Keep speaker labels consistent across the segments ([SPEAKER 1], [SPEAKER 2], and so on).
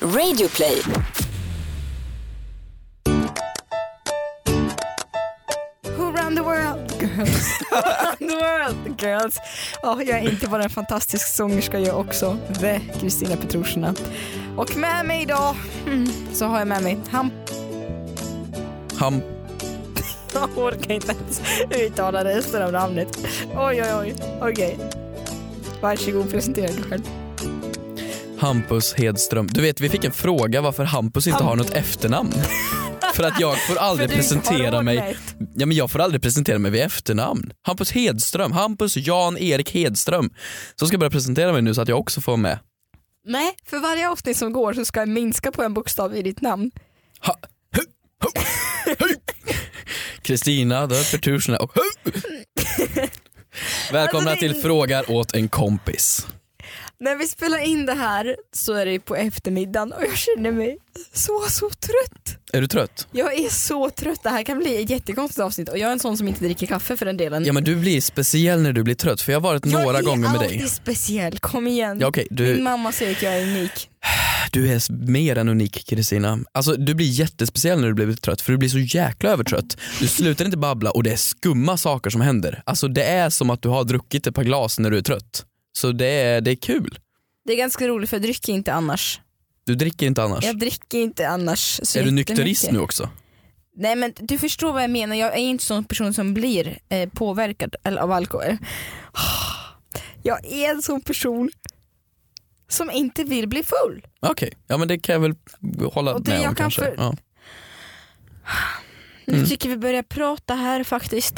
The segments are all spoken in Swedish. [SPEAKER 1] Radioplay.
[SPEAKER 2] Who run the world girls? Who run the world girls? Ja, jag är inte bara en fantastisk sångerska, jag är också the Kristina Petrushina. Och med mig idag mm, så har jag med mig han...
[SPEAKER 3] Ham...
[SPEAKER 2] Jag orkar inte ens uttala resten av namnet. Oj, oj, oj. Okej. Varsågod, presentera dig själv.
[SPEAKER 3] Hampus Hedström. Du vet, vi fick en fråga varför Hampus inte
[SPEAKER 2] Ham-
[SPEAKER 3] har något efternamn. För att jag får aldrig
[SPEAKER 2] För du har
[SPEAKER 3] presentera mig.
[SPEAKER 2] ordnat.
[SPEAKER 3] Ja, men jag får aldrig presentera mig vid efternamn. Hampus Hedström, Hampus Jan Erik Hedström. Så ska jag börja presentera mig nu så att jag också får med.
[SPEAKER 2] Nej, för varje avsnitt som går så ska jag minska på en bokstav i ditt namn.
[SPEAKER 3] Ha- hu- hu- hu. Kristina, the Petursina och hu. Välkomna
[SPEAKER 2] Alltså, det är-
[SPEAKER 3] till Frågar åt en kompis.
[SPEAKER 2] När vi spelar in det här så är det på eftermiddagen och jag känner mig så, så trött.
[SPEAKER 3] Är du trött?
[SPEAKER 2] Jag är så trött, det här kan bli ett jättekonstigt avsnitt och jag är en sån som inte dricker kaffe för den delen.
[SPEAKER 3] Ja men du blir speciell när du blir trött för jag har varit några gånger med
[SPEAKER 2] Jag är
[SPEAKER 3] dig.
[SPEAKER 2] alltid speciell, kom igen.
[SPEAKER 3] Ja, okej, du...
[SPEAKER 2] Min mamma säger att jag är unik.
[SPEAKER 3] Du är mer än unik Kristina. Alltså du blir jättespeciell när du blir trött för du blir så jäkla övertrött. Du slutar inte babbla och det är skumma saker som händer. Alltså det är som att du har druckit ett par glas när du är trött. Så det är, det är kul.
[SPEAKER 2] Det är ganska roligt för jag dricker inte annars.
[SPEAKER 3] Du dricker inte annars.
[SPEAKER 2] Jag dricker inte annars så
[SPEAKER 3] Är du
[SPEAKER 2] jättemycket.
[SPEAKER 3] nykterist nu också?
[SPEAKER 2] Nej men du förstår vad jag menar, jag är inte sån person som blir eh, påverkad eller- av alkohol. Jag är en sån person som inte vill bli full.
[SPEAKER 3] Okej, ja men det kan jag väl hålla
[SPEAKER 2] Och det
[SPEAKER 3] med
[SPEAKER 2] jag
[SPEAKER 3] om
[SPEAKER 2] kan
[SPEAKER 3] kanske.
[SPEAKER 2] för-
[SPEAKER 3] Ja.
[SPEAKER 2] Nu
[SPEAKER 3] Mm.
[SPEAKER 2] tycker vi börjar prata här faktiskt.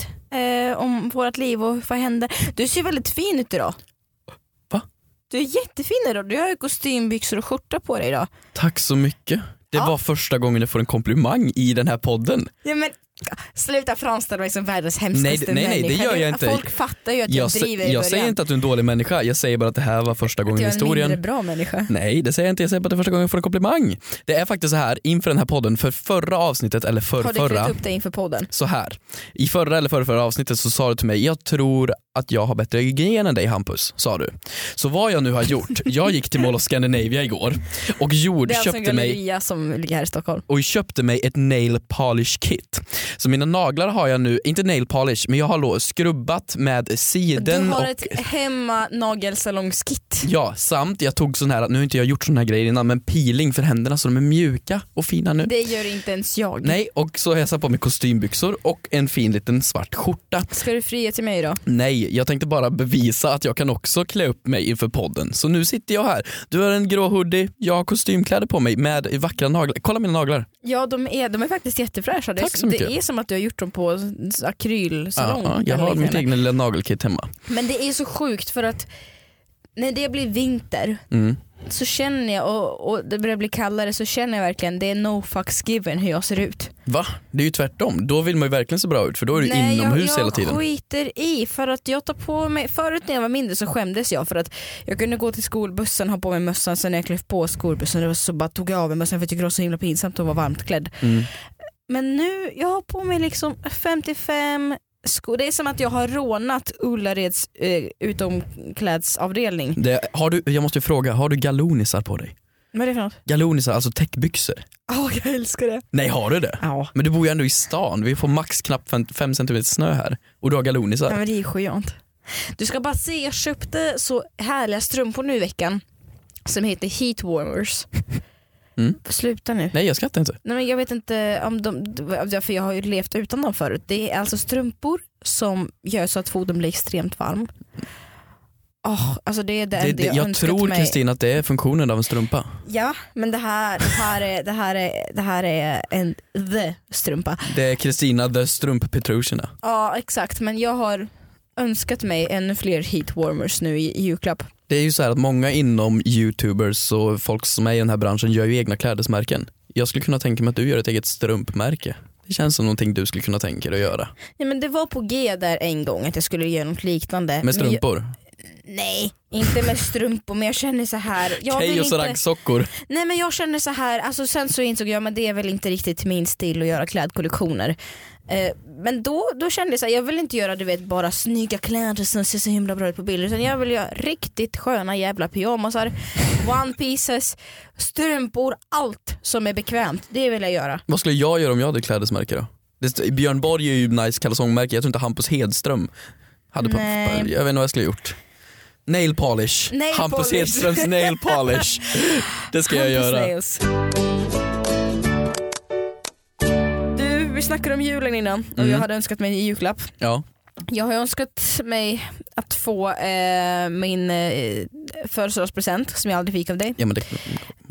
[SPEAKER 2] Eh, om vårt liv och vad händer. Du ser väldigt fin ut idag.
[SPEAKER 3] Va?
[SPEAKER 2] Du är jättefin idag. Du har ju kostymbyxor och skjorta på dig idag.
[SPEAKER 3] Tack så mycket. Det
[SPEAKER 2] Ja.
[SPEAKER 3] var första gången jag får en komplimang i den här podden.
[SPEAKER 2] Ja, men, sluta framställa mig som världens hemskaste
[SPEAKER 3] Nej, nej, nej, det
[SPEAKER 2] människa.
[SPEAKER 3] gör jag inte.
[SPEAKER 2] Folk fattar ju att jag,
[SPEAKER 3] Jag, sä-
[SPEAKER 2] driver i
[SPEAKER 3] jag
[SPEAKER 2] början.
[SPEAKER 3] säger inte att du är en dålig människa, jag säger bara att det här var första gången
[SPEAKER 2] att
[SPEAKER 3] i
[SPEAKER 2] jag är en
[SPEAKER 3] historien.
[SPEAKER 2] mindre bra människa.
[SPEAKER 3] Nej, det säger jag inte. Jag säger bara att det är första gången jag får en komplimang. Det är faktiskt så här inför den här podden, för förra avsnittet eller för
[SPEAKER 2] Har du klätt
[SPEAKER 3] förra
[SPEAKER 2] upp dig inför podden?
[SPEAKER 3] så här. I förra eller förra, förra avsnittet så sa du till mig, jag tror att jag har bättre hygien än dig Hampus, sa du. Så vad jag nu har gjort, jag gick till Mall of Scandinavia igår och gjorde,
[SPEAKER 2] Det är alltså en
[SPEAKER 3] köpte mig
[SPEAKER 2] galleria som ligger här i Stockholm.
[SPEAKER 3] och köpte mig ett nail polish kit. Så mina naglar har jag nu, inte nail polish, men jag har då skrubbat med siden
[SPEAKER 2] du har
[SPEAKER 3] och
[SPEAKER 2] ett hemma nagelsalongskit.
[SPEAKER 3] Ja, samt jag tog sån här, nu har inte jag gjort såna här grejer innan, men peeling för händerna så de är mjuka och fina nu.
[SPEAKER 2] Det gör inte ens jag.
[SPEAKER 3] Nej, och så har jag satt på mig kostymbyxor och en fin liten svart skjorta.
[SPEAKER 2] Ska du fria till mig idag?
[SPEAKER 3] Nej, jag tänkte bara bevisa att jag kan också klä upp mig inför podden. Så nu sitter jag här. Du har en grå hoodie, jag har kostymkläder på mig med vackra naglar. Kolla mina naglar.
[SPEAKER 2] Ja de är, de är faktiskt jättefräscha. Det,
[SPEAKER 3] Tack så mycket.
[SPEAKER 2] det är som att du har gjort dem på s- akrylsalong.
[SPEAKER 3] Ja, ja, jag
[SPEAKER 2] eller
[SPEAKER 3] har mitt
[SPEAKER 2] liknande.
[SPEAKER 3] egna lilla nagelkit hemma.
[SPEAKER 2] Men det är så sjukt för att när det blir vinter
[SPEAKER 3] Mm.
[SPEAKER 2] så känner jag och, och det börjar bli kallare så känner jag verkligen det är no fucks given hur jag ser ut.
[SPEAKER 3] Va? Det är ju tvärtom. Då vill man ju verkligen se bra ut för då är du
[SPEAKER 2] Nej,
[SPEAKER 3] inomhus
[SPEAKER 2] jag, jag
[SPEAKER 3] hela tiden.
[SPEAKER 2] skiter i för att jag tar på mig, förut när jag var mindre så skämdes jag för att jag kunde gå till skolbussen, ha på mig mössan, sen när jag klev på skolbussen det var så bara tog jag av mig mössan för jag tyckte det var så himla pinsamt att vara varmt klädd.
[SPEAKER 3] Mm.
[SPEAKER 2] Men nu, jag har på mig liksom 55 skor. Det är som att jag har rånat Ullareds eh, utomklädsavdelning.
[SPEAKER 3] Det, har du, jag måste ju fråga, har du galonisar på dig?
[SPEAKER 2] Vad är det för något?
[SPEAKER 3] Galonisar, alltså täckbyxor?
[SPEAKER 2] Ja, jag älskar det.
[SPEAKER 3] Nej, har du det?
[SPEAKER 2] Ja.
[SPEAKER 3] Men du bor ju ändå i stan, vi får max knappt 5 cm snö här och du har galonisar.
[SPEAKER 2] Men det är ju skönt. Du ska bara se, jag köpte så härliga strumpor nu i veckan som heter heat warmers.
[SPEAKER 3] Mm.
[SPEAKER 2] Sluta nu.
[SPEAKER 3] Nej jag skrattar inte.
[SPEAKER 2] Nej men jag vet inte om de, för jag har ju levt utan dem förut. Det är alltså strumpor som gör så att foten blir extremt varm. Åh, alltså det är det,
[SPEAKER 3] Det,
[SPEAKER 2] enda
[SPEAKER 3] det,
[SPEAKER 2] jag,
[SPEAKER 3] jag
[SPEAKER 2] önskat
[SPEAKER 3] tror
[SPEAKER 2] mig.
[SPEAKER 3] Kristina att det är funktionen av en strumpa.
[SPEAKER 2] Ja, men det här, det här, är, det här, är, det här är en the strumpa.
[SPEAKER 3] Det är Kristina the strump Petrushina.
[SPEAKER 2] Ja exakt, men jag har önskat mig ännu fler heat warmers nu i i julklapp.
[SPEAKER 3] Det är ju så här att många inom youtubers och folk som är i den här branschen gör ju egna klädesmärken. Jag skulle kunna tänka mig att du gör ett eget strumpmärke. Det känns som någonting du skulle kunna tänka dig att göra.
[SPEAKER 2] Nej, men det var på G där en gång att jag skulle göra något liknande.
[SPEAKER 3] Med
[SPEAKER 2] Men jag,
[SPEAKER 3] strumpor.
[SPEAKER 2] Nej, inte med strumpor men jag känner så här. Jag vill
[SPEAKER 3] Keyyo och
[SPEAKER 2] inte...
[SPEAKER 3] raggsockor.
[SPEAKER 2] Nej men jag känner så här, alltså sen så insåg jag men det är väl inte riktigt min stil att göra klädkollektioner. Eh, men då, då kände jag så här, jag vill inte göra du vet bara snygga kläder som ser så himla bra ut på bilder utan jag vill göra riktigt sköna jävla pyjamasar, one pieces, strumpor, allt som är bekvämt. Det vill jag göra.
[SPEAKER 3] Vad skulle jag göra om jag hade klädesmärke då? Det, st- Björn Borg är ju nice kalsongmärke, jag tror inte Hampus Hedström hade på,
[SPEAKER 2] Nej.
[SPEAKER 3] Jag vet inte vad jag skulle ha gjort. Nail polish.
[SPEAKER 2] Nail
[SPEAKER 3] Hampus
[SPEAKER 2] polish.
[SPEAKER 3] Hedströms nail polish. Det ska jag
[SPEAKER 1] Hampus
[SPEAKER 3] göra.
[SPEAKER 1] Nails. Du, vi snackade om julen innan och
[SPEAKER 3] Mm.
[SPEAKER 1] jag hade önskat mig en julklapp.
[SPEAKER 3] Ja.
[SPEAKER 2] Jag har ju önskat mig att få eh, min eh, födelsedagspresent som jag aldrig fick av dig.
[SPEAKER 3] ja men det,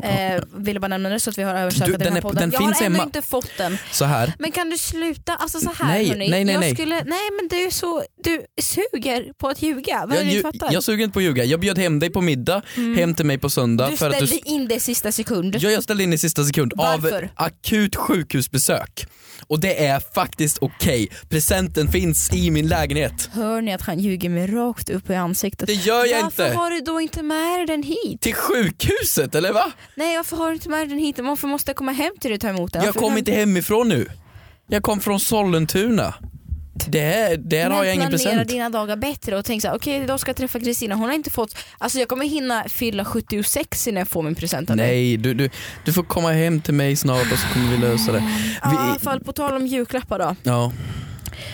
[SPEAKER 2] Eh, ville bara nämna det så att vi har översatt
[SPEAKER 3] Du,
[SPEAKER 2] den, den
[SPEAKER 3] den
[SPEAKER 2] här
[SPEAKER 3] är-
[SPEAKER 2] podden.
[SPEAKER 3] den
[SPEAKER 2] jag
[SPEAKER 3] finns
[SPEAKER 2] har ändå
[SPEAKER 3] hemma.
[SPEAKER 2] inte fått den.
[SPEAKER 3] så här.
[SPEAKER 2] Men kan du sluta? Alltså så här
[SPEAKER 3] Nej,
[SPEAKER 2] hörni.
[SPEAKER 3] nej, nej,
[SPEAKER 2] jag
[SPEAKER 3] nej.
[SPEAKER 2] Skulle, nej men du är så, du suger på att ljuga. Vad är
[SPEAKER 3] Jag,
[SPEAKER 2] det du
[SPEAKER 3] ju,
[SPEAKER 2] fattar?
[SPEAKER 3] jag suger inte på att ljuga. Jag bjöd hem dig på middag, hem till mig på söndag.
[SPEAKER 2] Mm. du
[SPEAKER 3] för att
[SPEAKER 2] ställde
[SPEAKER 3] du,
[SPEAKER 2] in det sista sekund.
[SPEAKER 3] Ja, jag ställde in i sista sekund
[SPEAKER 2] Varför?
[SPEAKER 3] av akut sjukhusbesök. Och det är faktiskt okej. Presenten finns i min lägenhet.
[SPEAKER 2] Hör ni att han ljuger mig rakt upp i ansiktet?
[SPEAKER 3] Det gör jag
[SPEAKER 2] varför
[SPEAKER 3] inte.
[SPEAKER 2] har du då inte med dig den hit?
[SPEAKER 3] Till sjukhuset eller va?
[SPEAKER 2] Nej varför har du inte med dig den hit? Varför måste jag komma hem till dig och ta emot den?
[SPEAKER 3] Jag
[SPEAKER 2] Varför
[SPEAKER 3] kom
[SPEAKER 2] kan-
[SPEAKER 3] inte hemifrån nu. Jag kom från Sollentuna. Det, där
[SPEAKER 2] Men
[SPEAKER 3] har jag ingen
[SPEAKER 2] planera
[SPEAKER 3] present.
[SPEAKER 2] dina dagar bättre och tänk såhär, okej idag ska jag träffa Kristina, hon har inte fått, alltså jag kommer hinna fylla 76 innan jag får min present av dig.
[SPEAKER 3] Nej, du, du, du får komma hem till mig snart och så kommer vi lösa det.
[SPEAKER 2] Ja, i alla
[SPEAKER 3] Vi,
[SPEAKER 2] fall på tal om julklappar då.
[SPEAKER 3] ja.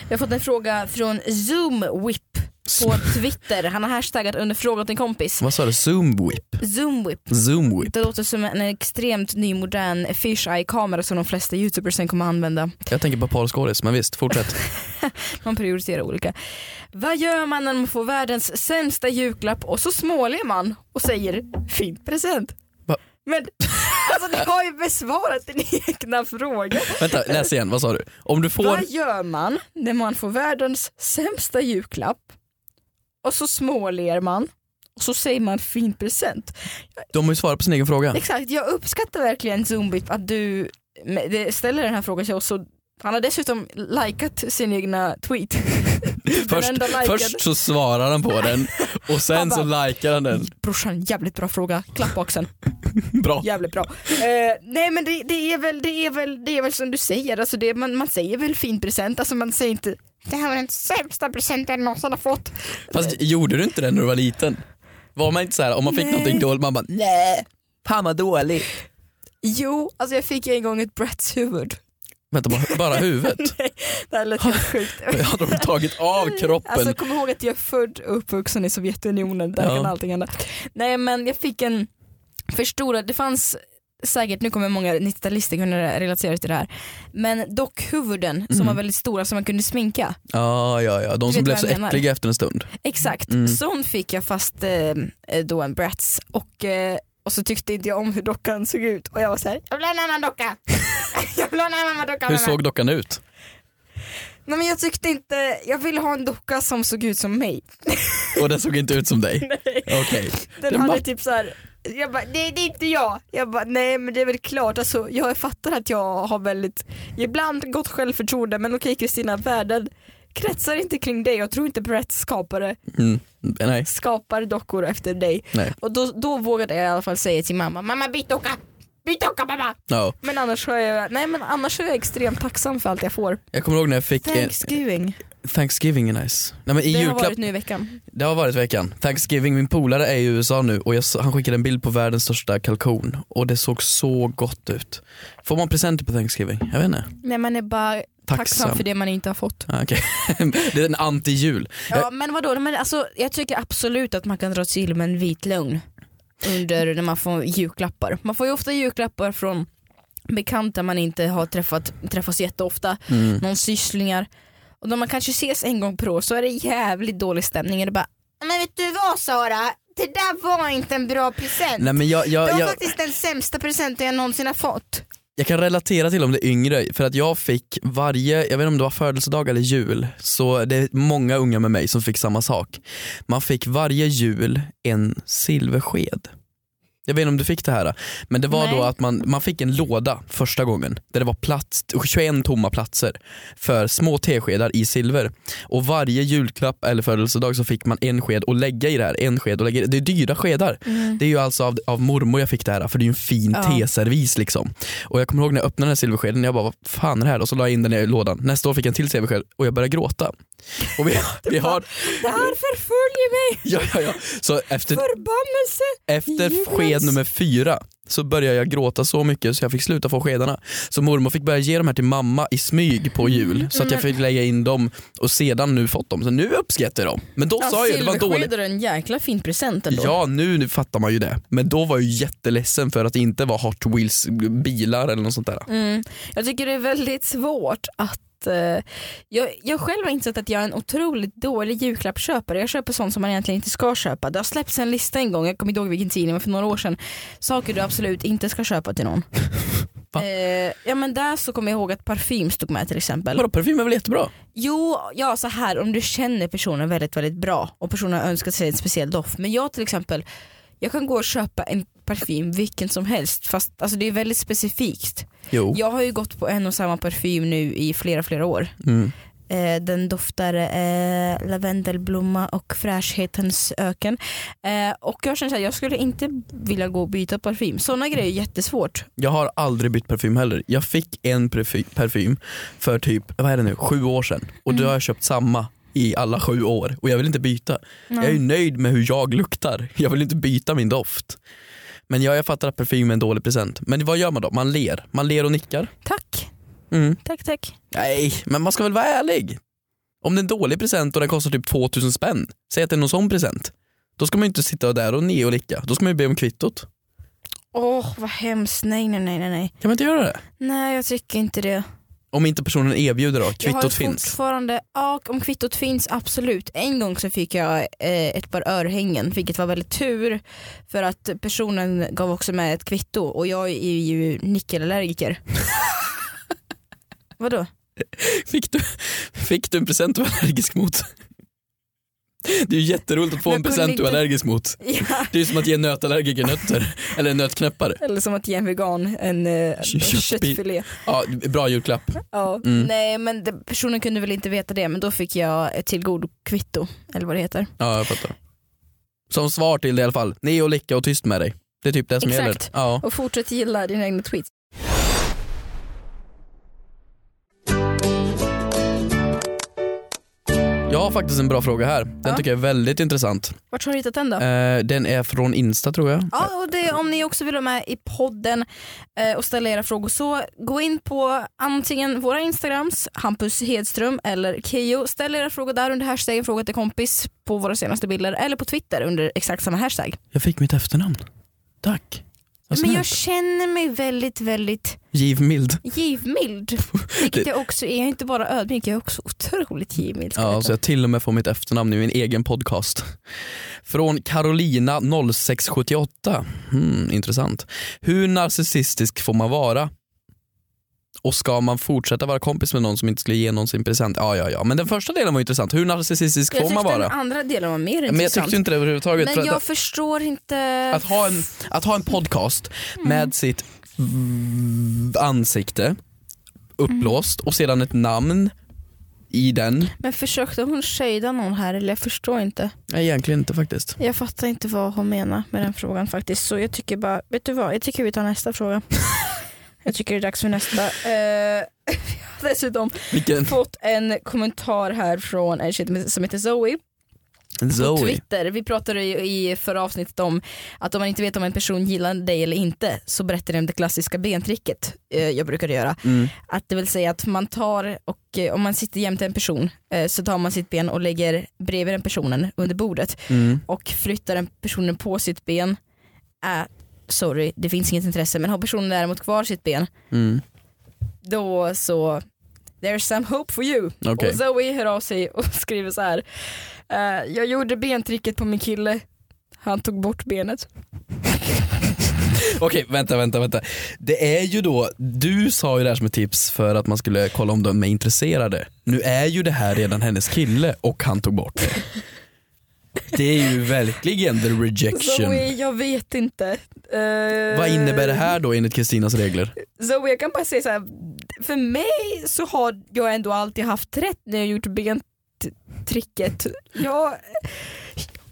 [SPEAKER 2] Vi har fått en fråga från Zoomwhip på Twitter. Han har hashtaggat under fråga åt en kompis.
[SPEAKER 3] Vad sa du? Zoom whip?
[SPEAKER 2] Zoomwhip.
[SPEAKER 3] Zoom whip.
[SPEAKER 2] Det låter som en extremt nymodern fisheye kamera som de flesta youtubersen kommer använda.
[SPEAKER 3] Jag tänker på porrskådis, men visst, fortsätt.
[SPEAKER 2] Man prioriterar olika. Vad gör man när man får världens sämsta julklapp och så småler man och säger fin present?
[SPEAKER 3] Va?
[SPEAKER 2] Men alltså du har ju besvarat din egna fråga.
[SPEAKER 3] Vänta, läs igen. Vad sa du? Om du får...
[SPEAKER 2] Vad gör man när man får världens sämsta julklapp och så småler man och så säger man fin present.
[SPEAKER 3] De har ju svarat på sin egen fråga.
[SPEAKER 2] Exakt, jag uppskattar verkligen Zumbip att du med- det- ställer den här frågan till oss. Och han har dessutom likat sin egna tweet. Den
[SPEAKER 3] Först,
[SPEAKER 2] enda liken.
[SPEAKER 3] först så svarar han på den och sen så likar han den.
[SPEAKER 2] Brorsan, jävligt bra fråga. Klapp på axeln.
[SPEAKER 3] Bra.
[SPEAKER 2] Jävligt bra. Eh, nej men det, det, är väl, det, är väl, det är väl som du säger, alltså det, man, man säger väl fin present, alltså man säger inte det här var den sämsta presenten jag någonsin har fått.
[SPEAKER 3] Fast gjorde du inte det när du var liten? Var man inte så här, om man fick
[SPEAKER 2] Nej.
[SPEAKER 3] någonting dåligt, man bara nej, fan vad dåligt.
[SPEAKER 2] Jo, alltså jag fick en gång ett Bratts huvud.
[SPEAKER 3] Vänta, bara, bara huvudet?
[SPEAKER 2] Det här lät helt sjukt.
[SPEAKER 3] Hade de tagit av kroppen?
[SPEAKER 2] Alltså kom ihåg att jag är född och uppvuxen i Sovjetunionen, där
[SPEAKER 3] Ja.
[SPEAKER 2] kan allting hända. Nej men jag fick en förstorad, det fanns säkert, nu kommer många 90-talister kunna relatera till det här, men dockhuvuden som
[SPEAKER 3] Mm.
[SPEAKER 2] var väldigt stora som man kunde sminka.
[SPEAKER 3] ja, ja, ja, de
[SPEAKER 2] vet
[SPEAKER 3] som blev
[SPEAKER 2] vad
[SPEAKER 3] så
[SPEAKER 2] jag menar.
[SPEAKER 3] äckliga efter en stund.
[SPEAKER 2] Exakt,
[SPEAKER 3] Mm.
[SPEAKER 2] sån fick jag fast eh, då en Bratz och, eh, och så tyckte inte jag om hur dockan såg ut och jag var såhär, jag vill ha en annan docka. jag vill ha en annan docka.
[SPEAKER 3] Hur
[SPEAKER 2] mamma."
[SPEAKER 3] såg dockan ut?
[SPEAKER 2] Nej men jag tyckte inte, jag ville ha en docka som såg ut som mig.
[SPEAKER 3] Och den såg inte ut som dig? Okej.
[SPEAKER 2] Den
[SPEAKER 3] Det är
[SPEAKER 2] hade
[SPEAKER 3] matt.
[SPEAKER 2] typ så här. jag bara, nej det är inte jag. Jag bara, nej men det är väl klart, alltså, jag fattar att jag har väldigt, ibland gott självförtroende men okej Kristina, världen kretsar inte kring dig. Jag tror inte Brett skapare
[SPEAKER 3] Mm. Nej,
[SPEAKER 2] skapar dockor efter dig.
[SPEAKER 3] nej.
[SPEAKER 2] Och då, då vågade jag i alla fall säga till mamma, mamma byt docka! Byt docka mamma!
[SPEAKER 3] Ja.
[SPEAKER 2] Men annars, har jag, nej, men annars är jag extremt tacksam för allt jag får.
[SPEAKER 3] Jag kommer ihåg när jag fick en,
[SPEAKER 2] Thanksgiving,
[SPEAKER 3] Thanksgiving är nice. Nej, men i
[SPEAKER 2] det har
[SPEAKER 3] julklapp,
[SPEAKER 2] varit nu i veckan.
[SPEAKER 3] Det har varit veckan. Thanksgiving, min polare är i USA nu och jag, s- han skickade en bild på världens största kalkon och det såg så gott ut. Får man presenter på Thanksgiving? Jag vet inte.
[SPEAKER 2] Nej man är bara tacksam
[SPEAKER 3] Tacksam.
[SPEAKER 2] för det man inte har fått.
[SPEAKER 3] Ah, okej. det är en anti-jul.
[SPEAKER 2] Ja men vadå, men alltså, jag tycker absolut att man kan dra till med en vit lögn under när man får julklappar. Man får ju ofta julklappar från bekanta man inte har träffat, träffas jätteofta,
[SPEAKER 3] Mm.
[SPEAKER 2] någon sysslingar. Och när man kanske ses en gång per år så är det jävligt dålig stämning. Det är bara, men vet du vad Sara, det där var inte en bra present.
[SPEAKER 3] Nej, men jag, jag, jag,
[SPEAKER 2] faktiskt den sämsta presenten jag någonsin har fått.
[SPEAKER 3] jag kan relatera till om det är yngre för att jag fick varje, jag vet inte om det var födelsedag eller jul, så det är många unga med mig som fick samma sak. Man fick varje jul en silversked. Jag vet inte om du fick det här, men det var
[SPEAKER 2] Nej.
[SPEAKER 3] då att man, man fick en låda första gången där det var plats, 21 tomma platser för små teskedar i silver. Och varje julklapp eller födelsedag så fick man en sked att lägga i det här. En sked att lägga i. Det är dyra skedar. Det är ju alltså av, av mormor jag fick det här för det är ju en fin
[SPEAKER 2] Ja.
[SPEAKER 3] teservis liksom. Och jag kommer ihåg när jag öppnade den här silverskeden, jag bara vad fan är det här? Och så la jag in den i lådan. Nästa år fick jag en till silversked och jag började gråta. Och vi, vi har,
[SPEAKER 2] Det här förföljer mig,
[SPEAKER 3] ja, ja, ja. Så efter,
[SPEAKER 2] förbannelse.
[SPEAKER 3] efter
[SPEAKER 2] Julklapp.
[SPEAKER 3] sked nummer fyra så började jag gråta så mycket så jag fick sluta få skedarna. Så mormor fick börja ge de här till mamma i smyg på jul så att jag fick lägga in dem och sedan nu fått dem. Så nu uppskattar jag dem. Men då sa jag ju det var dåligt.
[SPEAKER 2] Silverskedar är Alltså, en jäkla fin present ändå.
[SPEAKER 3] Ja nu, nu fattar man ju det. Men då var jag ju jätteledsen för att det inte var Hot Wheels bilar eller något sånt där.
[SPEAKER 2] Mm. Jag tycker det är väldigt svårt att eh, jag, jag själv har insett att jag är en otroligt dålig julklappsköpare. Jag köper sånt som man egentligen inte ska köpa. Det har släppts en lista en gång, jag kommer inte ihåg vilken tidning, men för några år sedan. Saker du absolut inte ska köpa till någon.
[SPEAKER 3] Va?
[SPEAKER 2] Eh, ja men där så kommer jag ihåg att parfym stod med till exempel.
[SPEAKER 3] Vadå parfym är väl jättebra?
[SPEAKER 2] Jo, ja så här om du känner personen väldigt väldigt bra och personen har önskat sig en speciell doft. Men jag till exempel, jag kan gå och köpa en parfym vilken som helst fast alltså, det är väldigt specifikt.
[SPEAKER 3] Jo.
[SPEAKER 2] Jag har ju gått på en och samma parfym nu i flera flera år.
[SPEAKER 3] Mm.
[SPEAKER 2] Eh, den doftar eh, lavendelblomma och fräschhetens öken. Eh, och jag känner att jag skulle inte vilja gå och byta parfym. Sådana grejer är jättesvårt.
[SPEAKER 3] Jag har aldrig bytt parfym heller. Jag fick en parfy- parfym för typ, vad är det nu, sju år sedan och
[SPEAKER 2] Mm.
[SPEAKER 3] då har jag köpt samma i alla sju år och jag vill inte byta. Jag är ju nöjd med hur jag luktar. Jag vill inte byta min doft. Men ja, jag fattar att parfym är en dålig present. Men vad gör man då? Man ler. Man ler och nickar.
[SPEAKER 2] Tack,
[SPEAKER 3] Mm.
[SPEAKER 2] tack, tack.
[SPEAKER 3] Nej, men man ska väl vara ärlig. Om det är en dålig present och den kostar typ 2000 spänn, säg att det är någon sån present. Då ska man ju inte sitta där och ne och licka. Då ska man ju be om kvittot.
[SPEAKER 2] Åh vad hemskt, nej nej nej nej nej.
[SPEAKER 3] Kan man inte göra det?
[SPEAKER 2] Nej jag tycker inte det.
[SPEAKER 3] Om inte personen erbjuder då,
[SPEAKER 2] jag har ju
[SPEAKER 3] kvittot finns.
[SPEAKER 2] fortfarande, ja om kvittot finns absolut. En gång så fick jag eh, ett par örhängen vilket var väldigt tur för att personen gav också med ett kvitto och jag är ju nickelallergiker. Vadå?
[SPEAKER 3] Fick du, fick du en present du var allergisk mot? Det är ju jätteroligt att få
[SPEAKER 2] Men
[SPEAKER 3] en
[SPEAKER 2] kunde
[SPEAKER 3] present du är
[SPEAKER 2] inte-
[SPEAKER 3] allergisk mot.
[SPEAKER 2] Ja,
[SPEAKER 3] Det är ju som att ge en nötallergiker nötter, eller en nötknäppare.
[SPEAKER 2] eller som att ge en vegan en eh,
[SPEAKER 3] Köttbi-
[SPEAKER 2] köttfilé.
[SPEAKER 3] Ja, bra julklapp.
[SPEAKER 2] Ja.
[SPEAKER 3] Mm.
[SPEAKER 2] Nej men det, personen kunde väl inte veta det men då fick jag ett tillgodo kvitto eller vad det heter.
[SPEAKER 3] Ja, jag fattar. Som svar till det i alla fall, ne och licka och tyst med dig. Det är typ det som
[SPEAKER 2] Exakt.
[SPEAKER 3] gäller. Ja.
[SPEAKER 2] Och fortsätt gilla dina egna tweets.
[SPEAKER 3] Jag har faktiskt en bra fråga här. Den
[SPEAKER 2] Ja.
[SPEAKER 3] tycker jag är väldigt intressant.
[SPEAKER 2] Vart har du hittat den då?
[SPEAKER 3] Eh, den är från Insta tror jag.
[SPEAKER 2] Ja, och det, om ni också vill vara med i podden eh, och ställa era frågor så gå in på antingen våra Instagrams, Hampus Hedström eller Keyyo. Ställ era frågor där under hashtaggen fråga till kompis på våra senaste bilder eller på Twitter under exakt samma hashtag.
[SPEAKER 3] Jag fick mitt efternamn. Tack. Vad
[SPEAKER 2] Men jag
[SPEAKER 3] snällt.
[SPEAKER 2] känner mig väldigt, väldigt
[SPEAKER 3] Givmild.
[SPEAKER 2] givmild. Vilket jag också är. Jag är inte bara ödmjuk, jag är också otroligt givmild. ska
[SPEAKER 3] Ja,
[SPEAKER 2] jag
[SPEAKER 3] så jag till och med får mitt efternamn i min egen podcast. Från Carolina 0678. Hmm, intressant. Hur narcissistisk får man vara? Och ska man fortsätta vara kompis med någon som inte skulle ge någon sin present? Ja, ja, ja. Men den första delen var intressant. Hur narcissistisk
[SPEAKER 2] veta. jag
[SPEAKER 3] får man
[SPEAKER 2] tyckte
[SPEAKER 3] vara?
[SPEAKER 2] den andra delen var mer
[SPEAKER 3] Men jag
[SPEAKER 2] intressant.
[SPEAKER 3] tyckte inte det överhuvudtaget. för
[SPEAKER 2] Men
[SPEAKER 3] att-
[SPEAKER 2] jag förstår inte.
[SPEAKER 3] att ha en, att ha en podcast
[SPEAKER 2] Mm.
[SPEAKER 3] med sitt v- ansikte uppblåst och sedan ett namn i den.
[SPEAKER 2] Men försökte hon shada någon här eller jag förstår inte.
[SPEAKER 3] Nej egentligen inte faktiskt.
[SPEAKER 2] Jag fattar inte vad hon menar med den frågan faktiskt. Så jag tycker bara, vet du vad? Jag tycker vi tar nästa fråga. jag tycker det är dags för nästa. Eh, jag har dessutom
[SPEAKER 3] Vilken
[SPEAKER 2] fått en kommentar här från en tjej som heter Zoe på
[SPEAKER 3] Zoe.
[SPEAKER 2] Twitter. Vi pratade ju i förra avsnittet om att om man inte vet om en person gillar dig eller inte så berättar den det klassiska bentricket eh, jag brukade göra.
[SPEAKER 3] Mm.
[SPEAKER 2] Att det vill säga att man tar och eh, om man sitter jämte en person eh, så tar man sitt ben och lägger bredvid den personen under bordet
[SPEAKER 3] Mm.
[SPEAKER 2] och flyttar den personen på sitt ben, äh, sorry det finns inget intresse men har personen däremot kvar sitt ben
[SPEAKER 3] Mm.
[SPEAKER 2] då så There's some hope for you.
[SPEAKER 3] Okej.
[SPEAKER 2] Och Zoe hör av sig och skriver så här. eh, jag gjorde bentricket på min kille. Han tog bort benet.
[SPEAKER 3] Okej, vänta, vänta, vänta. Det är ju då, du sa ju det här som ett tips för att man skulle kolla om de är intresserade. Nu är ju det här redan hennes kille och han tog bort det. Det är ju verkligen the rejection.
[SPEAKER 4] Zoe, jag vet inte. Eh,
[SPEAKER 3] Vad innebär det här då enligt Kristinas regler?
[SPEAKER 4] Zoe, jag kan bara säga så här. För mig så har jag ändå alltid haft rätt när jag gjort bentricket. Jag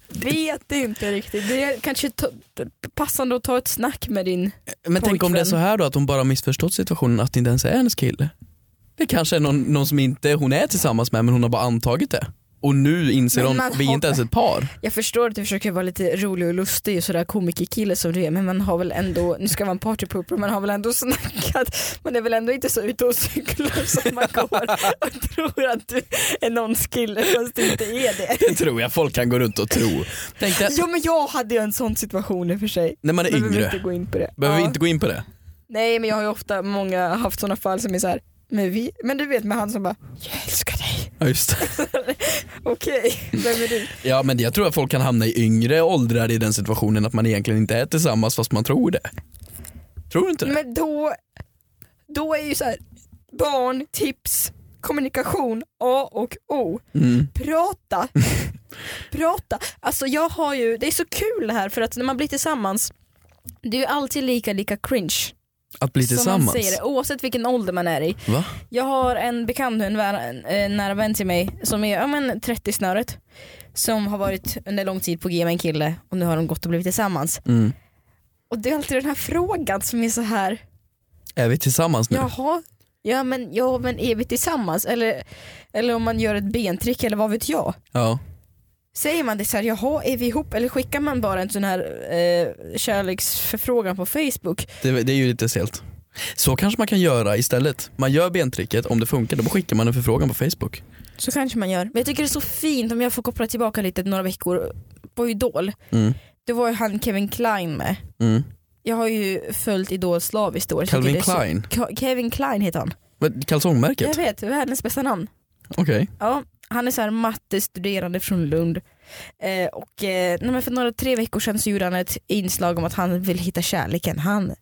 [SPEAKER 4] vet inte riktigt. Det är kanske to- passande att ta ett snack med din...
[SPEAKER 3] Men tänk om det är
[SPEAKER 4] Pojkvän.
[SPEAKER 3] så här då att hon bara missförstått situationen att det inte ens är hennes kille. Det kanske är någon, någon som inte hon är tillsammans med men hon har bara antagit det. Och nu inser
[SPEAKER 2] Men
[SPEAKER 3] hon,
[SPEAKER 2] man
[SPEAKER 3] vi är
[SPEAKER 2] har-
[SPEAKER 3] inte ens ett par.
[SPEAKER 2] Jag förstår att du försöker vara lite rolig och lustig och sådär komikerkille som du är men man har väl ändå, nu ska man partypooper, man har väl ändå snackat, man är väl ändå inte så ute och cyklar som man går och tror att du är någons kille fast du inte är det.
[SPEAKER 3] Det tror jag folk kan gå runt och tro. Tänk det,
[SPEAKER 4] Jo men jag hade ju en sån situation i och för sig.
[SPEAKER 3] när man är
[SPEAKER 4] Men vi behöver
[SPEAKER 3] yngre.
[SPEAKER 4] inte gå in på det.
[SPEAKER 3] Behöver vi
[SPEAKER 4] Ja.
[SPEAKER 3] inte gå in på det?
[SPEAKER 4] Nej men jag har ju ofta många haft sådana fall som är så här. Men, vi, men du vet med han som bara, jag älskar dig,
[SPEAKER 3] Ja, just det.
[SPEAKER 4] okej, vem är du?
[SPEAKER 3] Ja men jag tror att folk kan hamna i yngre åldrar i den situationen att man egentligen inte är tillsammans fast man tror det. Tror du inte det?
[SPEAKER 4] Men då, då är ju så här, barn, tips, kommunikation A och O.
[SPEAKER 3] Mm.
[SPEAKER 4] Prata. Prata. Alltså jag har ju, det är så kul det här för att när man blir tillsammans, det är ju alltid lika lika cringe.
[SPEAKER 3] Att bli
[SPEAKER 4] Som man
[SPEAKER 3] tillsammans?
[SPEAKER 4] säger det, oavsett vilken ålder man är i.
[SPEAKER 3] Va?
[SPEAKER 4] Jag har en bekant, en, vä- en eh, nära vän till mig som är ja, men 30 snöret. Som har varit under lång tid på G med en kille och nu har de gått och blivit tillsammans.
[SPEAKER 3] Mm.
[SPEAKER 4] Och det är alltid den här frågan som är så här
[SPEAKER 3] Är vi tillsammans nu?
[SPEAKER 4] Jaha, ja men, ja, men är vi tillsammans? Eller, eller om man gör ett bentrick eller vad vet jag?
[SPEAKER 3] Ja.
[SPEAKER 4] Säger man det så här, jaha är vi ihop? Eller skickar man bara en sån här eh, kärleksförfrågan på Facebook?
[SPEAKER 3] Det, det är ju lite stelt. Så kanske man kan göra istället. Man gör bentricket, om det funkar då skickar man en förfrågan på Facebook.
[SPEAKER 4] Så kanske man gör.
[SPEAKER 2] Men jag tycker det är så fint om jag får koppla tillbaka lite några veckor på Idol,
[SPEAKER 3] Mm.
[SPEAKER 2] det var ju han Kevin Klein med.
[SPEAKER 3] Mm.
[SPEAKER 2] Jag har ju följt Idol slaviskt i år. Jag tycker det
[SPEAKER 3] Calvin
[SPEAKER 2] är så-
[SPEAKER 3] Klein,
[SPEAKER 2] Ka- Kevin Klein heter han.
[SPEAKER 3] Vad, kalsongmärket?
[SPEAKER 2] Jag vet, världens bästa namn.
[SPEAKER 3] Okej.
[SPEAKER 2] Ja, han är så här mattestuderande från Lund. Eh, och eh, nej, men för några tre veckor sedan så gjorde han ett inslag om att han vill hitta kärleken. Han,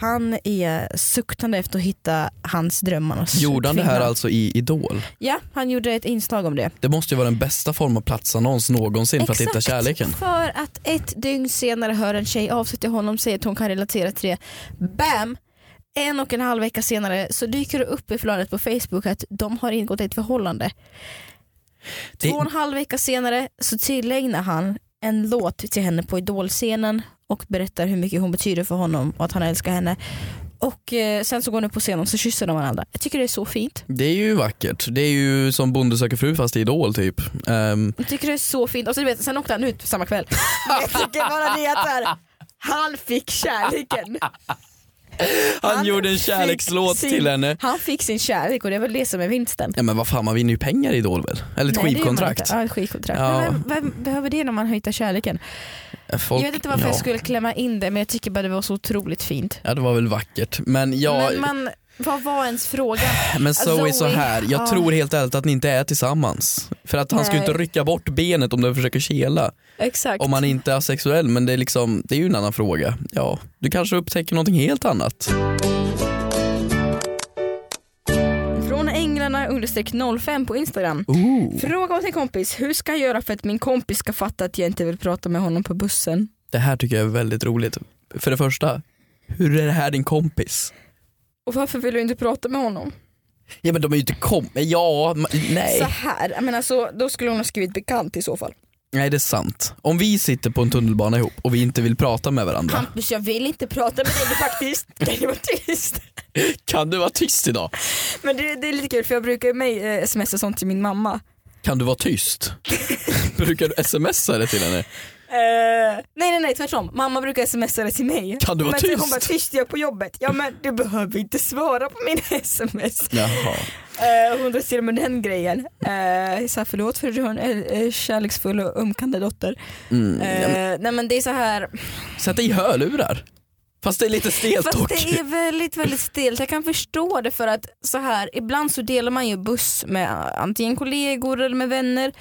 [SPEAKER 2] han är suktande efter att hitta hans drömmarnas
[SPEAKER 3] Gjorde han det här
[SPEAKER 2] kvinna.
[SPEAKER 3] alltså i Idol?
[SPEAKER 2] Ja, han gjorde ett inslag om det.
[SPEAKER 3] Det måste ju vara den bästa form av platsannons någonsin för att hitta
[SPEAKER 2] Exakt.
[SPEAKER 3] kärleken.
[SPEAKER 2] För att ett dygn senare hör en tjej av sig till honom och säger att hon kan relatera till det. Bam! En och en halv vecka senare så dyker det upp i flödet på Facebook att de har ingått ett förhållande. Två och
[SPEAKER 3] Det,
[SPEAKER 2] en halv vecka senare så tillägnar han en låt till henne på idolscenen och berättar hur mycket hon betyder för honom och att han älskar henne. Och eh, sen så går hon upp på scenen och så kysser de varandra. Jag tycker det är så fint.
[SPEAKER 3] det är ju vackert. Det är ju som Bonde söker fru fast i Idol typ. Ehm,
[SPEAKER 2] Jag tycker det är så fint. Och så, du vet, sen åkte han ut samma kväll. Men jag tycker bara det att så här, han fick kärleken.
[SPEAKER 3] han,
[SPEAKER 2] Han
[SPEAKER 3] gjorde en
[SPEAKER 2] fick
[SPEAKER 3] kärlekslåt
[SPEAKER 2] sin-
[SPEAKER 3] till henne.
[SPEAKER 2] Han fick sin kärlek och det är väl det som är vinsten.
[SPEAKER 3] Ja men vad fan man vinner ju pengar i Idol väl? Eller
[SPEAKER 2] Nej, det
[SPEAKER 3] ett
[SPEAKER 2] gör man
[SPEAKER 3] skivkontrakt.
[SPEAKER 2] inte. Ja, ett skivkontrakt.
[SPEAKER 3] Ja.
[SPEAKER 2] Men vem, vem behöver det när man hittar kärleken?
[SPEAKER 3] Folk-
[SPEAKER 2] jag vet inte varför
[SPEAKER 3] ja.
[SPEAKER 2] jag skulle klämma in det men jag tycker bara det var så otroligt fint.
[SPEAKER 3] Ja det var väl vackert. Men jag...
[SPEAKER 2] Men man, vad var ens fråga?
[SPEAKER 3] Men Zoe,
[SPEAKER 2] Zoe,
[SPEAKER 3] så här, jag
[SPEAKER 2] ja.
[SPEAKER 3] tror helt ärligt att ni inte är tillsammans. För att han ska ju
[SPEAKER 2] Nej.
[SPEAKER 3] inte rycka bort benet om du försöker kela.
[SPEAKER 2] Exakt.
[SPEAKER 3] Om han inte är sexuell, men det är, liksom, det är ju en annan fråga. Ja, du kanske upptäcker någonting helt annat.
[SPEAKER 4] Från änglarna understreck 05 på Instagram.
[SPEAKER 3] Ooh.
[SPEAKER 4] Fråga åt en kompis, hur ska jag göra för att min kompis ska fatta att jag inte vill prata med honom på bussen?
[SPEAKER 3] Det här tycker jag är väldigt roligt. För det första, hur är det här din kompis?
[SPEAKER 4] Och varför vill du inte prata med honom?
[SPEAKER 3] Ja men de är ju inte kom... Ja, ma- nej.
[SPEAKER 4] Så här, jag menar så, då skulle hon ha skrivit bekant i så fall.
[SPEAKER 3] Nej det är sant. Om vi sitter på en tunnelbana ihop och vi inte vill prata med varandra.
[SPEAKER 2] Hampus jag vill inte prata med dig faktiskt. Kan du vara tyst?
[SPEAKER 3] Kan du vara tyst idag?
[SPEAKER 4] Men det, det är lite kul för jag brukar ju mig eh, smsa sånt till min mamma.
[SPEAKER 3] Kan du vara tyst? Brukar du smsa det till henne?
[SPEAKER 4] Eh, nej nej nej tvärtom, mamma brukar smsa det till mig.
[SPEAKER 3] Kan du vara
[SPEAKER 4] men
[SPEAKER 3] tyst?
[SPEAKER 4] Hon bara tyst jag är på jobbet. Ja men du behöver inte svara på mina sms.
[SPEAKER 3] Jaha.
[SPEAKER 4] Eh, hon drar till med den grejen. Eh, så här, förlåt för att du har en eh, kärleksfull och ömkande dotter.
[SPEAKER 3] Mm.
[SPEAKER 4] Eh, nej men det är så här,
[SPEAKER 3] Sätta i hörlurar. Fast det är lite stelt
[SPEAKER 2] Fast
[SPEAKER 3] dock.
[SPEAKER 2] det är väldigt väldigt stelt. Jag kan förstå det för att så här ibland så delar man ju buss med äh, antingen kollegor eller med vänner.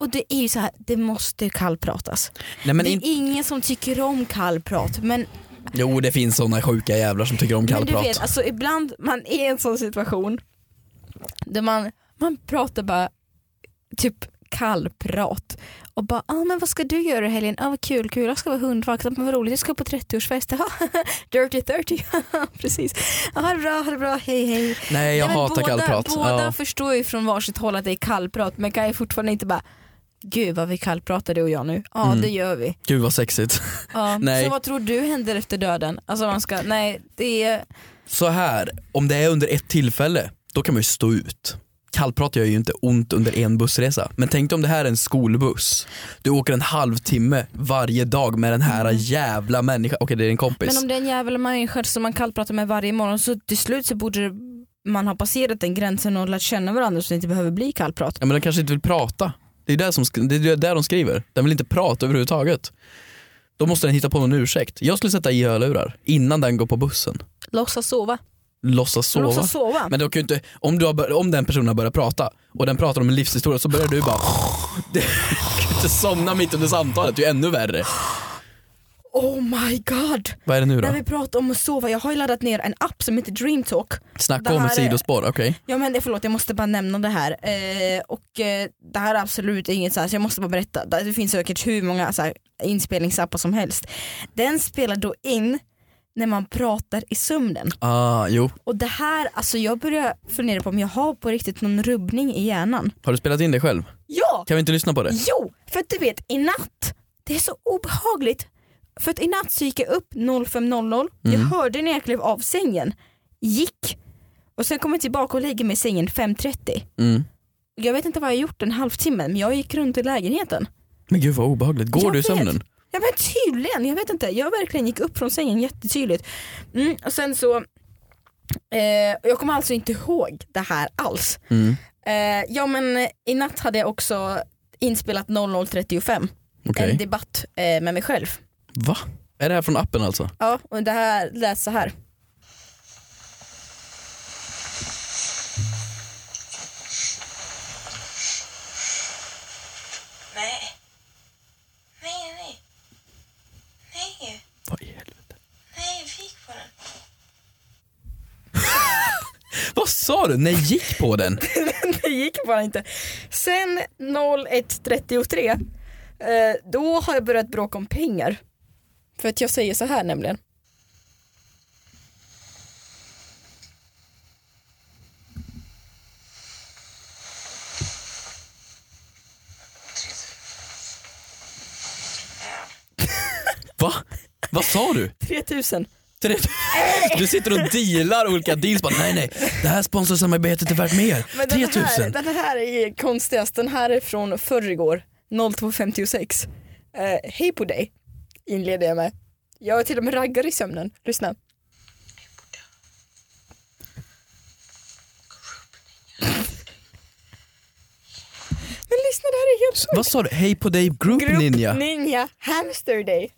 [SPEAKER 2] Och det är ju så här, det måste kallpratas.
[SPEAKER 3] Nej, men
[SPEAKER 2] det är
[SPEAKER 3] in...
[SPEAKER 2] ingen som tycker om kallprat men,
[SPEAKER 3] Jo det finns såna sjuka jävlar som tycker om
[SPEAKER 2] men du
[SPEAKER 3] kallprat.
[SPEAKER 2] vet alltså ibland man är i en sån situation där man, man pratar bara typ kallprat och bara ah, men vad ska du göra i helgen? Ah, vad kul, kul, jag ska vara hundvakt, ah, men vad roligt, jag ska på 30-årsfest, Ah, dirty 30, precis. Ah, ha det bra, ha det bra, hej hej.
[SPEAKER 3] Nej jag
[SPEAKER 2] Nej, men
[SPEAKER 3] hatar
[SPEAKER 2] båda,
[SPEAKER 3] kallprat.
[SPEAKER 2] Båda
[SPEAKER 3] Ja.
[SPEAKER 2] förstår ju från varsitt håll att det är kallprat men kan ju fortfarande inte bara Gud vad vi kallpratar du och jag nu. Ja
[SPEAKER 3] Mm.
[SPEAKER 2] det gör vi.
[SPEAKER 3] Gud vad sexigt.
[SPEAKER 2] Ja.
[SPEAKER 3] Nej.
[SPEAKER 2] Så vad tror du händer efter döden? Alltså man ska, nej det är
[SPEAKER 3] Så här, om det är under ett tillfälle, då kan man ju stå ut. Kallprat gör ju inte ont under en bussresa. Men tänk dig om det här är en skolbuss. Du åker en halvtimme varje dag med den här jävla människan. Okej det är en kompis.
[SPEAKER 2] Mm. Men om det är en jävla människa som man kallpratar med varje morgon så till slut så borde det- man ha passerat den gränsen och lärt känna varandra så det inte behöver bli kallprat.
[SPEAKER 3] Ja men den kanske inte vill prata. Det är där, som, sk- det är där de skriver. Den vill inte prata överhuvudtaget. Då måste den hitta på någon ursäkt. Jag skulle sätta i hörlurar innan den går på bussen.
[SPEAKER 2] Låtsas sova.
[SPEAKER 3] Låtsas sova.
[SPEAKER 2] Låtsas sova.
[SPEAKER 3] Men då kan ju inte, om, du har, bör- om den personen har börjat prata och den pratar om en livshistoria så börjar du bara Du kan inte somna mitt under samtalet, det är ju ännu värre.
[SPEAKER 2] Oh my god.
[SPEAKER 3] Vad är det nu
[SPEAKER 2] När
[SPEAKER 3] då?
[SPEAKER 2] vi pratar om att sova, jag har ju laddat ner en app som heter Dreamtalk.
[SPEAKER 3] Snacka
[SPEAKER 2] det
[SPEAKER 3] om
[SPEAKER 2] här
[SPEAKER 3] ett
[SPEAKER 2] är-
[SPEAKER 3] sidospår, okej.
[SPEAKER 2] Ja men det- förlåt jag måste bara nämna det här. Eh, och eh, det här är absolut inget så här så jag måste bara berätta. Det det finns säkert hur många så här, inspelningsappar som helst. Den spelar då in när man pratar i sömnen.
[SPEAKER 3] Ah, jo.
[SPEAKER 2] Och det här, alltså jag börjar fundera på om jag har på riktigt någon rubbning i hjärnan.
[SPEAKER 3] Har du spelat in det själv?
[SPEAKER 2] Ja!
[SPEAKER 3] Kan vi inte lyssna på det?
[SPEAKER 2] Jo! För att du vet, i natt, det är så obehagligt. För att i natt så gick jag upp 05.00, jag hörde när jag klev av sängen, gick och sen kom jag tillbaka och lägger mig i sängen 5.30.
[SPEAKER 3] Mm.
[SPEAKER 2] Jag vet inte vad jag gjort en halvtimme men jag gick runt i lägenheten.
[SPEAKER 3] Men gud vad obehagligt, går
[SPEAKER 2] Jag
[SPEAKER 3] du i
[SPEAKER 2] vet.
[SPEAKER 3] sömnen?
[SPEAKER 2] Ja men tydligen, jag vet inte. Jag verkligen gick upp från sängen jättetydligt. Mm, och sen så, eh, jag kommer alltså inte ihåg det här alls.
[SPEAKER 3] Mm.
[SPEAKER 2] Eh, ja men eh, i natt hade jag också inspelat 00.35,
[SPEAKER 3] Okej.
[SPEAKER 2] en debatt eh, med mig själv.
[SPEAKER 3] Va? Är det här från appen alltså?
[SPEAKER 2] Ja och det här lät så här.
[SPEAKER 5] Nej. Nej, nej. Nej,
[SPEAKER 3] Vad i helvete?
[SPEAKER 5] nej, vik på den.
[SPEAKER 3] Vad sa du? Nej, gick på den?
[SPEAKER 2] det gick bara inte. Sen 01.33 eh, då har jag börjat bråka om pengar. För att jag säger så här nämligen.
[SPEAKER 3] Va? Vad sa du?
[SPEAKER 2] 3000.
[SPEAKER 3] Tre- Du sitter och dealar olika deals bara nej nej, det här sponsorsamarbetet är värt mer.
[SPEAKER 2] Men den, här,
[SPEAKER 3] 3000.
[SPEAKER 2] den här är konstigast, den här är från förrgår 02.56. Eh, Hej på dig, inleder jag med. Jag är till och med raggar i sömnen, lyssna. Men lyssna det här är helt sjukt.
[SPEAKER 3] Vad sa du? Hej på dig Group,
[SPEAKER 2] Grupp
[SPEAKER 3] Ninja.
[SPEAKER 2] Ninja Hamster Day.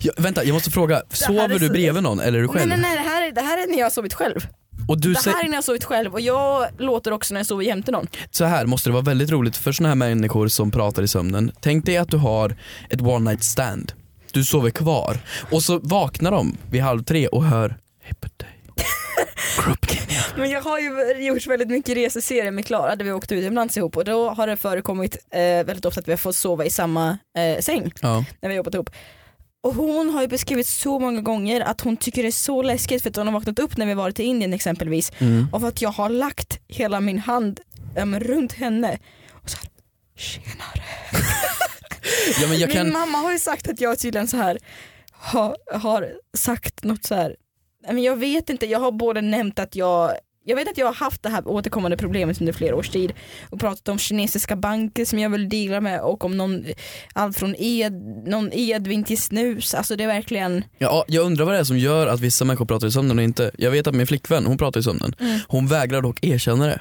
[SPEAKER 3] Ja, vänta, jag måste fråga. Sover
[SPEAKER 2] är
[SPEAKER 3] du
[SPEAKER 2] så-
[SPEAKER 3] bredvid någon eller är du
[SPEAKER 2] Nej
[SPEAKER 3] själv?
[SPEAKER 2] nej nej det här, är- det här är när jag har sovit själv.
[SPEAKER 3] Och du
[SPEAKER 2] Det här
[SPEAKER 3] säger
[SPEAKER 2] är när jag har sovit själv och jag låter också när jag sover jämte någon.
[SPEAKER 3] så här måste det vara väldigt roligt för såna här människor som pratar i sömnen. Tänk dig att du har ett one night stand. Du sover kvar och så vaknar de vid halv tre och hör Hej på dig. Group Ninja.
[SPEAKER 2] Men jag har ju gjort väldigt mycket reseserier med Klara där vi åkt utomlands ihop och då har det förekommit eh, väldigt ofta att vi har fått sova i samma eh, säng
[SPEAKER 3] Ja.
[SPEAKER 2] när vi har jobbat ihop. Och hon har ju beskrivit så många gånger att hon tycker det är så läskigt för att hon har vaknat upp när vi varit i Indien exempelvis
[SPEAKER 3] Mm.
[SPEAKER 2] och för att jag har lagt hela min hand ja, men runt henne och så här, tjenare.
[SPEAKER 3] ja men jag
[SPEAKER 2] Min
[SPEAKER 3] kan,
[SPEAKER 2] mamma har ju sagt att jag tydligen så här har, har sagt något så här. Nej, Men jag vet inte, jag har både nämnt att jag jag vet att jag har haft det här återkommande problemet under flera års tid och pratat om kinesiska banker som jag vill dela med och om någon, allt från ed, någon edvin till snus, alltså det är verkligen
[SPEAKER 3] ja, jag undrar vad det är som gör att vissa människor pratar i sömnen och inte. Jag vet att min flickvän hon pratar i sömnen.
[SPEAKER 2] Mm.
[SPEAKER 3] Hon vägrar dock erkänna det.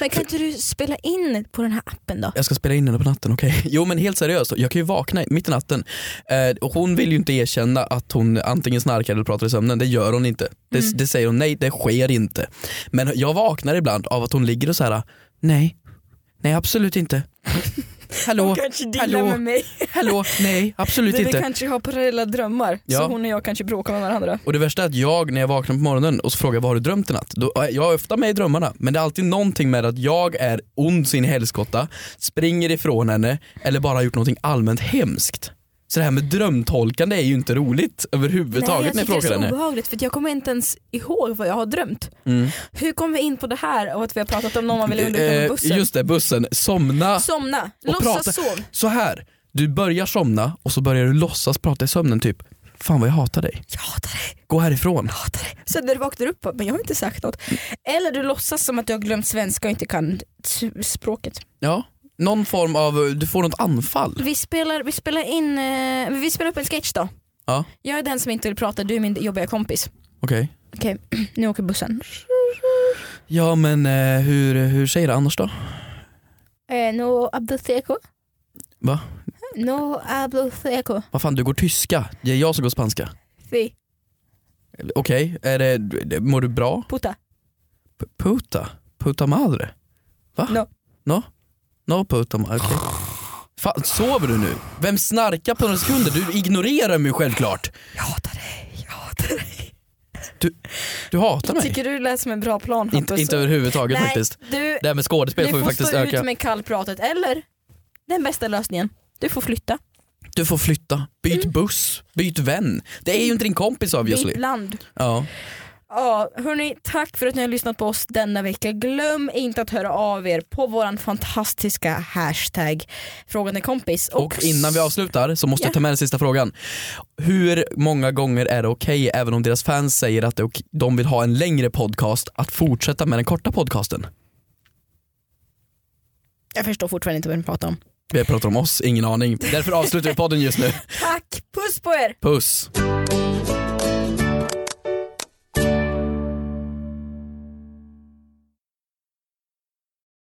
[SPEAKER 2] Men kan inte du spela in på den här appen då?
[SPEAKER 3] jag ska spela in henne på natten, okej? Jo men helt seriöst, jag kan ju vakna mitt i natten. Eh, och hon vill ju inte erkänna att hon antingen snarkar eller pratar i sömnen, det gör hon inte. Det, det säger hon nej, det sker inte. Men jag vaknar ibland av att hon ligger och så här: nej, nej absolut inte.
[SPEAKER 2] Oh
[SPEAKER 3] hallå,
[SPEAKER 4] kanske dealar
[SPEAKER 3] hallå,
[SPEAKER 4] med mig.
[SPEAKER 3] hallå, nej absolut
[SPEAKER 4] Vi vi
[SPEAKER 3] inte.
[SPEAKER 4] kanske har parallella drömmar.
[SPEAKER 3] Ja.
[SPEAKER 4] Så hon och jag kanske bråkar med varandra.
[SPEAKER 3] Och det värsta är att jag när jag vaknar på morgonen och så frågar jag vad har du drömt i natt? Då, jag är ofta med i drömmarna men det är alltid någonting med att jag är ond sin helskotta, springer ifrån henne eller bara har gjort någonting allmänt hemskt. Så det här med drömtolkande är ju inte roligt överhuvudtaget när
[SPEAKER 2] jag
[SPEAKER 3] jag
[SPEAKER 2] tycker det
[SPEAKER 3] frågar
[SPEAKER 2] är så
[SPEAKER 3] henne.
[SPEAKER 2] obehagligt för att jag kommer inte ens ihåg vad jag har drömt.
[SPEAKER 3] Mm.
[SPEAKER 2] Hur kom vi in på det här och att vi har pratat om någon man vill undvika
[SPEAKER 3] Eh,
[SPEAKER 2] på bussen?
[SPEAKER 3] Just det, bussen. Somna.
[SPEAKER 2] Somna,
[SPEAKER 3] Och prata.
[SPEAKER 2] låtsas sov.
[SPEAKER 3] Så här, du börjar somna och så börjar du låtsas prata i sömnen typ Fan vad jag hatar dig.
[SPEAKER 2] Jag hatar dig,
[SPEAKER 3] Gå härifrån.
[SPEAKER 2] jag hatar dig. Så när du vaknar upp bara, men jag har inte sagt något. Eller du låtsas som att du har glömt svenska och inte kan t- språket.
[SPEAKER 3] Ja, någon form av, du får något anfall.
[SPEAKER 2] Vi spelar, vi spelar in, eh, vi spelar upp en sketch då.
[SPEAKER 3] Ja.
[SPEAKER 2] Jag är den som inte vill prata, du är min jobbiga kompis.
[SPEAKER 3] Okej.
[SPEAKER 2] Okej, nu åker bussen.
[SPEAKER 3] Ja men eh, hur, hur säger det annars då?
[SPEAKER 2] Eh, no abdoteko.
[SPEAKER 3] Va?
[SPEAKER 2] No abdoteko.
[SPEAKER 3] Vad fan du går tyska, det är jag som går spanska.
[SPEAKER 2] Si.
[SPEAKER 3] Okej, är det- det, mår du bra?
[SPEAKER 2] Puta.
[SPEAKER 3] P- puta? Puta madre? Va?
[SPEAKER 2] No.
[SPEAKER 3] No, no puta madre. okej. Fan sover du nu? Vem snarkar på några sekunder? Du ignorerar mig självklart.
[SPEAKER 2] Jag hatar dig, jag hatar dig.
[SPEAKER 3] Du hatar mig.
[SPEAKER 4] Tycker du det lät som en bra plan
[SPEAKER 3] Inte,
[SPEAKER 4] Hampus?
[SPEAKER 3] inte överhuvudtaget
[SPEAKER 2] Nej,
[SPEAKER 3] faktiskt.
[SPEAKER 2] Du,
[SPEAKER 3] Det här med skådespel
[SPEAKER 2] du
[SPEAKER 3] får vi
[SPEAKER 2] får
[SPEAKER 3] faktiskt
[SPEAKER 2] stå
[SPEAKER 3] öka.
[SPEAKER 2] ut med kallpratet eller den bästa lösningen, du får flytta.
[SPEAKER 3] Du får flytta, byt
[SPEAKER 2] Mm.
[SPEAKER 3] buss, byt vän. Det är ju inte din kompis obviously.
[SPEAKER 2] Byt land.
[SPEAKER 3] Ja.
[SPEAKER 2] Ja, hörni, tack för att ni har lyssnat på oss denna vecka. Glöm inte att höra av er på våran fantastiska hashtag frågan är kompis.
[SPEAKER 3] Och innan vi avslutar så måste
[SPEAKER 2] Ja.
[SPEAKER 3] jag ta med den sista frågan. Hur många gånger är det okej, även om deras fans säger att det är ok- de vill ha en längre podcast, att fortsätta med den korta podcasten?
[SPEAKER 2] Jag förstår fortfarande inte vad ni pratar om.
[SPEAKER 3] Vi pratar om oss, ingen aning. Därför avslutar vi podden just nu.
[SPEAKER 2] Tack, puss på er!
[SPEAKER 3] Puss!